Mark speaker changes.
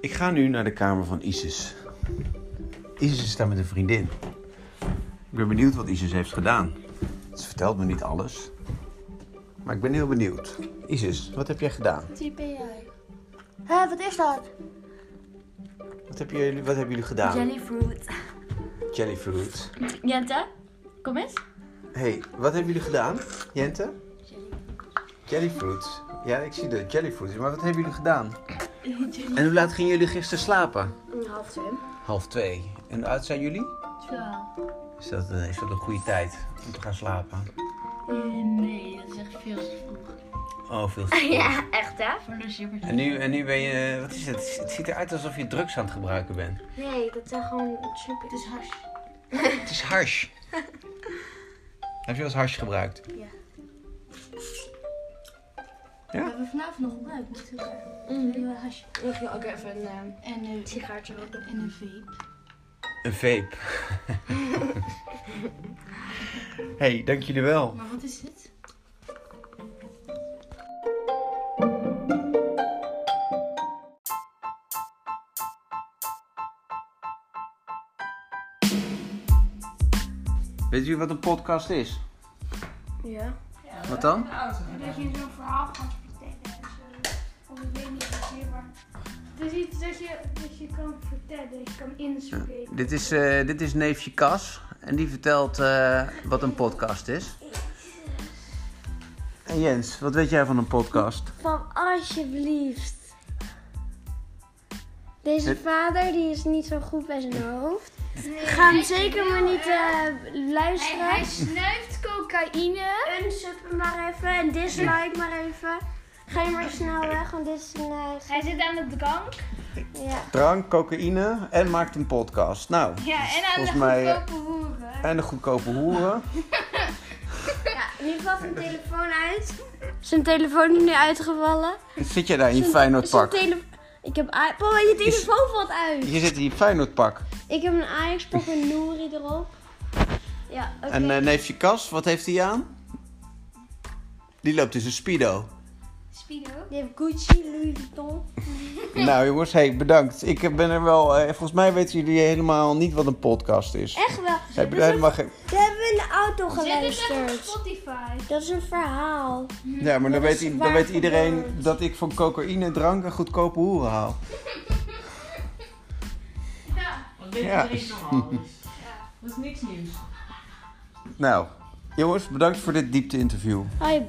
Speaker 1: ga nu naar de kamer van Isis. Isis staat met een vriendin. Ik ben benieuwd wat Isis heeft gedaan. Ze vertelt me niet alles. Maar ik ben heel benieuwd. Isis, wat heb jij gedaan?
Speaker 2: TPI.
Speaker 3: Hé, wat is dat?
Speaker 1: Wat, heb jullie, wat hebben jullie gedaan?
Speaker 2: Jellyfruit.
Speaker 1: Jellyfruit.
Speaker 2: Jente, kom eens.
Speaker 1: Hé, hey, wat hebben jullie gedaan? Jente? Jellyfruit. Ja, ik zie de jellyfruit. Maar wat hebben jullie gedaan? En hoe laat gingen jullie gisteren slapen?
Speaker 3: Half twee.
Speaker 1: Half twee. En hoe oud zijn jullie? Is dat, eh, is dat een goede tijd om te gaan slapen?
Speaker 2: Eh, Nee, dat is echt veel te vroeg.
Speaker 1: Oh, veel te vroeg.
Speaker 2: Ah,
Speaker 3: Ja, echt hè?
Speaker 2: Voor de super.
Speaker 1: En nu, en nu ben je, eh, wat is het? Het ziet eruit alsof je drugs aan het gebruiken bent.
Speaker 3: Nee, dat zijn gewoon snoepjes.
Speaker 2: Het is hash.
Speaker 1: Het is hash. Heb je wel eens hash gebruikt?
Speaker 2: We hebben vanavond nog gebruikt met elkaar. Heel hash.
Speaker 3: Mm. Ik ging ook even een eh,
Speaker 2: En een
Speaker 3: sigaartje roken.
Speaker 2: en een vape.
Speaker 1: Een vape. hey, dank jullie wel.
Speaker 2: Maar wat is dit?
Speaker 1: Weet jullie wat een podcast is?
Speaker 3: Ja.
Speaker 1: Wat dan?
Speaker 4: Dat je zo'n verhaal gaat vertellen. en zo. eh, Of ik weet niet precies, maar. Het is iets dat je, dat je kan vertellen, dat je kan inspreken.
Speaker 1: Dit is, eh, dit is neefje Cas. En die vertelt eh, wat een podcast is. En Jens, wat weet jij van een podcast?
Speaker 3: Van alsjeblieft. Deze
Speaker 1: Het-
Speaker 3: vader die is niet zo goed bij zijn hoofd. Ga hem zeker maar niet eh, luisteren.
Speaker 4: snuift cocaïne.
Speaker 3: Unsub hem maar even en dislike maar even. Ga je maar snel weg, want dit is een... eh, ge-
Speaker 4: Hij zit aan de drank.
Speaker 3: ja.
Speaker 1: Drank, cocaïne en maakt een podcast. Nou,
Speaker 4: Ja, en aan
Speaker 1: Volgens
Speaker 4: de
Speaker 1: mij, eh,
Speaker 4: goedkope hoeren.
Speaker 1: en de goedkope hoeren.
Speaker 3: ja, in ieder geval zijn telefoon uit. Zijn telefoon is nu uitgevallen.
Speaker 1: Zit jij daar in je
Speaker 3: Zijn- zijn
Speaker 1: Feyenoordpak?
Speaker 3: tele- Ik heb... A- Papa, je telefoon valt uit.
Speaker 1: Je zit in je Feyenoordpak.
Speaker 3: Ik heb een Ajax-pop en Nouri erop. Ja, oké.
Speaker 1: En eh, neefje Cas, wat heeft hij aan? Die loopt in zijn speedo.
Speaker 4: Speedo.
Speaker 3: Die heeft Gucci, Louis Vuitton.
Speaker 1: Nou jongens, hey, bedankt. Ik eh, ben er wel... eh, volgens mij weten jullie helemaal niet wat een podcast is.
Speaker 3: Echt wel.
Speaker 1: Heb
Speaker 3: Dat
Speaker 1: je
Speaker 3: is
Speaker 1: helemaal
Speaker 3: een-
Speaker 1: geen...
Speaker 3: We hebben in de auto
Speaker 4: Zet het echt op
Speaker 3: geluisterd.
Speaker 4: Spotify.
Speaker 3: Dat is een verhaal.
Speaker 1: Ja, maar dan
Speaker 3: Dat
Speaker 1: weet,
Speaker 3: is
Speaker 1: i- dan
Speaker 3: waar
Speaker 1: weet iedereen
Speaker 3: gebeurd.
Speaker 1: dat ik van cocaïne, drank en goedkope hoeren haal.
Speaker 4: Ja.
Speaker 5: Wat weet
Speaker 1: Ja.
Speaker 5: iedereen nog alles? Dat is niks nieuws.
Speaker 1: Nou, jongens, bedankt voor dit diepte-interview.
Speaker 3: Hoi.